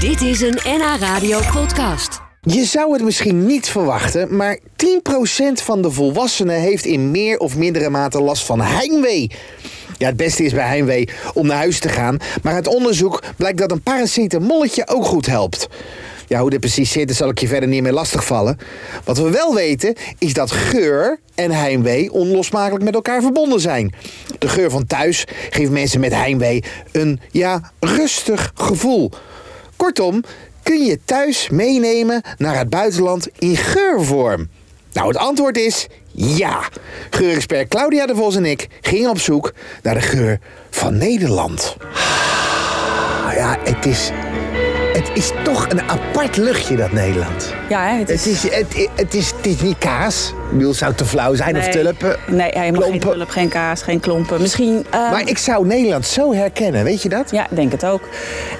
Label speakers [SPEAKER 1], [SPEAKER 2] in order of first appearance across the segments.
[SPEAKER 1] Dit is een NH Radio podcast.
[SPEAKER 2] Je zou het misschien niet verwachten, maar 10% van de volwassenen heeft in meer of mindere mate last van heimwee. Ja, het beste is bij heimwee om naar huis te gaan, maar uit onderzoek blijkt dat een paracetamolletje ook goed helpt. Ja, hoe dit precies zit, daar zal ik je verder niet mee lastigvallen. Wat we wel weten, is dat geur en heimwee onlosmakelijk met elkaar verbonden zijn. De geur van thuis geeft mensen met heimwee een, ja, rustig gevoel. Kortom, kun je thuis meenemen naar het buitenland in geurvorm? Nou, het antwoord is ja. Geurexpert Claudia de Vos en ik gingen op zoek naar de geur van Nederland. Ah, Ja, het is, het is toch een apart luchtje, dat Nederland.
[SPEAKER 3] Ja, hè, het is...
[SPEAKER 2] Het is, het, het is, het is niet kaas. Ik bedoel, het zou te flauw zijn of tulpen.
[SPEAKER 3] Nee, helemaal geen
[SPEAKER 2] klompen.
[SPEAKER 3] tulp, geen kaas, geen klompen. Misschien... eh,
[SPEAKER 2] Maar ik zou Nederland zo herkennen, weet je dat?
[SPEAKER 3] Ja, ik denk het ook.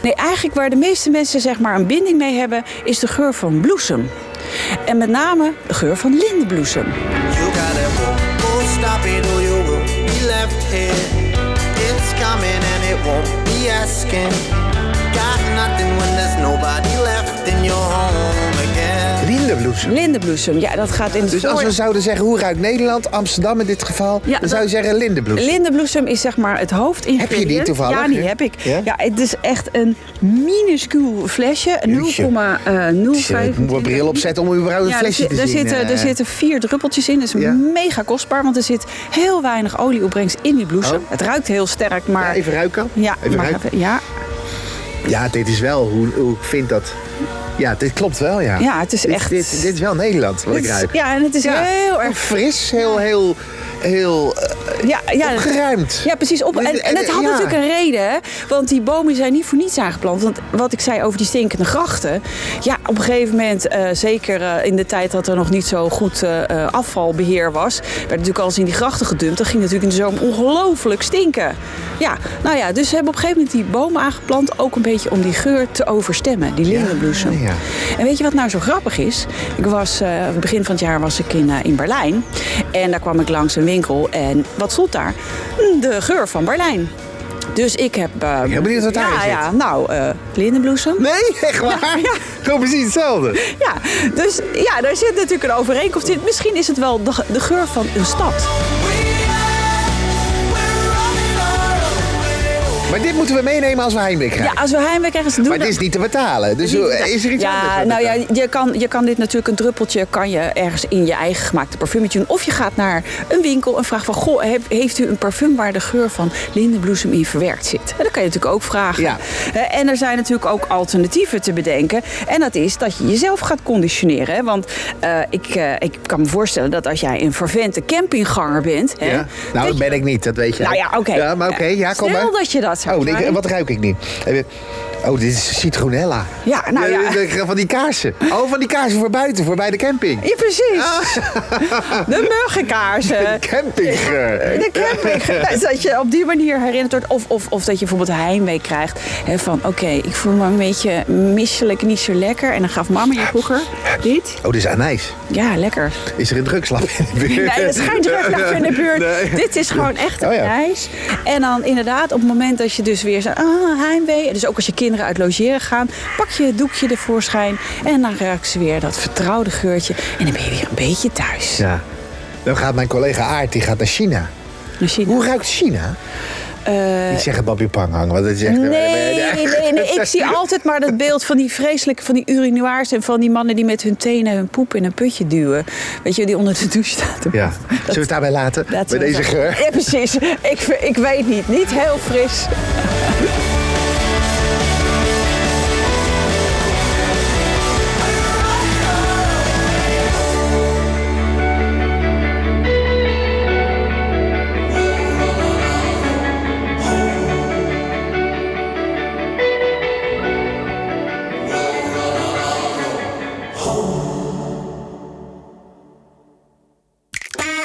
[SPEAKER 3] Nee, eigenlijk waar de meeste mensen zeg maar een binding mee hebben... is de geur van bloesem. En met name de geur van lindenbloesem.
[SPEAKER 4] You gotta walk, oh stop it or you will be left here. It's coming and it won't be asking. Got nothing when there's nobody left in your home again.
[SPEAKER 2] Lindenbloesem.
[SPEAKER 3] Lindenbloesem, ja, dat gaat in het
[SPEAKER 2] Dus als
[SPEAKER 3] voor-
[SPEAKER 2] we zouden zeggen, hoe ruikt Nederland, Amsterdam in dit geval,
[SPEAKER 3] Ja,
[SPEAKER 2] dan zou je
[SPEAKER 3] dat-
[SPEAKER 2] zeggen lindenbloesem.
[SPEAKER 3] Lindenbloesem is zeg maar het hoofdingrediënt.
[SPEAKER 2] Heb je die toevallig?
[SPEAKER 3] Ja, die heb ik.
[SPEAKER 2] Ja?
[SPEAKER 3] Ja? het is echt een minuscuul flesje. eh,
[SPEAKER 2] Jeetje.
[SPEAKER 3] 0,05.
[SPEAKER 2] Ik moet mijn bril opzetten om überhaupt een
[SPEAKER 3] Ja,
[SPEAKER 2] flesje
[SPEAKER 3] er,
[SPEAKER 2] te
[SPEAKER 3] zi- er
[SPEAKER 2] zien.
[SPEAKER 3] Zitten,
[SPEAKER 2] eh.
[SPEAKER 3] er zitten vier druppeltjes in. Dat is
[SPEAKER 2] Ja.
[SPEAKER 3] mega kostbaar, want er zit heel weinig olieopbrengst in die bloesem.
[SPEAKER 2] Oh.
[SPEAKER 3] Het ruikt heel sterk, maar...
[SPEAKER 2] Ja, even ruiken.
[SPEAKER 3] Ja,
[SPEAKER 2] even
[SPEAKER 3] maar
[SPEAKER 2] ruiken.
[SPEAKER 3] even- ja,
[SPEAKER 2] ja, dit is wel hoe, hoe ik vind dat. Ja, dit klopt wel, ja.
[SPEAKER 3] Ja, het is
[SPEAKER 2] Dit-
[SPEAKER 3] echt-
[SPEAKER 2] Dit, dit is wel Nederland, wat
[SPEAKER 3] het
[SPEAKER 2] ik
[SPEAKER 3] is-
[SPEAKER 2] ruik.
[SPEAKER 3] ja, en het is
[SPEAKER 2] Ja.
[SPEAKER 3] heel erg...
[SPEAKER 2] Fris, heel, heel, heel eh,
[SPEAKER 3] Ja, ja,
[SPEAKER 2] opgeruimd.
[SPEAKER 3] Ja, precies. Op, en,
[SPEAKER 2] Dit-
[SPEAKER 3] en het had
[SPEAKER 2] ja.
[SPEAKER 3] natuurlijk een reden, hè? want die bomen zijn niet voor niets aangeplant. Want wat ik zei over die stinkende grachten. Ja, op een gegeven moment, eh, zeker eh, in de tijd dat er nog niet zo goed eh, eh, afvalbeheer was, werd natuurlijk alles in die grachten gedumpt. Dat ging natuurlijk in de zomer ongelooflijk stinken. Ja, nou ja, dus ze hebben op een gegeven moment die bomen aangeplant, ook een beetje om die geur te overstemmen, die lindenbloesem.
[SPEAKER 2] Ja, ja.
[SPEAKER 3] En weet je wat nou zo grappig is? Ik was, eh, begin van het jaar was ik in, eh, in Berlijn. En daar kwam ik langs een winkel. En wat stond daar? Hm, De geur van Berlijn. Dus ik heb... eh,
[SPEAKER 2] ben benieuwd wat daarin
[SPEAKER 3] ja,
[SPEAKER 2] zit.
[SPEAKER 3] ja, nou, eh lindenbloesem.
[SPEAKER 2] Nee, echt waar? Gewoon precies hetzelfde.
[SPEAKER 3] Ja, dus ja, daar zit natuurlijk een overeenkomst in. Misschien is het wel de, de geur van een stad.
[SPEAKER 2] Maar dit moeten we meenemen als we Heimwee
[SPEAKER 3] Ja,
[SPEAKER 2] krijgen.
[SPEAKER 3] als we heimwee krijgen, ze doen
[SPEAKER 2] maar dit
[SPEAKER 3] dat-
[SPEAKER 2] is niet te betalen. Dus
[SPEAKER 3] Niet
[SPEAKER 2] eh,
[SPEAKER 3] gedaan.
[SPEAKER 2] is er iets
[SPEAKER 3] ja,
[SPEAKER 2] anders? wat
[SPEAKER 3] Nou
[SPEAKER 2] we-
[SPEAKER 3] ja, je kan, je kan dit natuurlijk een druppeltje kan je ergens in je eigen gemaakte parfumetje doen. Of je gaat naar een winkel en vraagt van... Goh, heb- heeft u een parfum waar de geur van lindenbloesem in verwerkt zit? En dat kan je natuurlijk ook vragen.
[SPEAKER 2] Ja.
[SPEAKER 3] Eh, En er zijn natuurlijk ook alternatieven te bedenken. En dat is dat je jezelf gaat conditioneren. Hè? Want eh, ik, eh, ik kan me voorstellen dat als jij een vervente campingganger bent... Hè,
[SPEAKER 2] Ja? Nou, dat
[SPEAKER 3] dat je-
[SPEAKER 2] ben ik niet, dat weet je.
[SPEAKER 3] Nou ja, oké.
[SPEAKER 2] Ja, maar oké, ja, kom
[SPEAKER 3] Stel
[SPEAKER 2] maar.
[SPEAKER 3] dat je dat zou
[SPEAKER 2] Oh, nee,
[SPEAKER 3] zijn.
[SPEAKER 2] wat ruik ik nu? Even- Oh, dit is citronella.
[SPEAKER 3] Ja, nou ja.
[SPEAKER 2] dit- dit- Van die kaarsen. Oh, van die kaarsen voor buiten, voor bij de camping.
[SPEAKER 3] Ja, precies.
[SPEAKER 2] Ah.
[SPEAKER 3] De muggenkaarsen.
[SPEAKER 2] Campinggeur.
[SPEAKER 3] De camping. Nou, dat je op die manier herinnerd wordt. Of, of, of dat je bijvoorbeeld heimwee krijgt. Hè, van oké, ik voel me een beetje misselijk, niet zo lekker. En dan gaf mama je vroeger dit.
[SPEAKER 2] Oh, dit is anijs.
[SPEAKER 3] Ja, lekker.
[SPEAKER 2] Is er een drugslab in de buurt?
[SPEAKER 3] Nee, dat is geen drukloper in de buurt.
[SPEAKER 2] Nee.
[SPEAKER 3] Dit is gewoon echt een
[SPEAKER 2] Oh ja.
[SPEAKER 3] reis. En dan inderdaad, op het moment dat je dus weer zo, ah, heimwee. Dus ook als je kinderen uit logeren gaan, pak je het doekje ervoorschijn. En dan ruikt ze weer dat vertrouwde geurtje. En dan ben je weer een beetje thuis.
[SPEAKER 2] Ja. Dan gaat mijn collega Aart, die gaat naar China.
[SPEAKER 3] Dus je- eh,
[SPEAKER 2] Hoe ruikt China? Ik zeg een babiepang hangen, want dat is echt...
[SPEAKER 3] Nee, nee, nee, ik zie altijd maar dat beeld van die vreselijke, van die urinoirs en van die mannen die met hun tenen hun poep in een putje duwen. Weet je, die onder de douche staat. te
[SPEAKER 2] Ja.
[SPEAKER 3] poepen.
[SPEAKER 2] Zullen we het daarbij laten?
[SPEAKER 3] Dat
[SPEAKER 2] Bij
[SPEAKER 3] is
[SPEAKER 2] deze
[SPEAKER 3] wel-
[SPEAKER 2] geur?
[SPEAKER 3] Ja, precies. Ik, ik weet niet. Niet heel fris.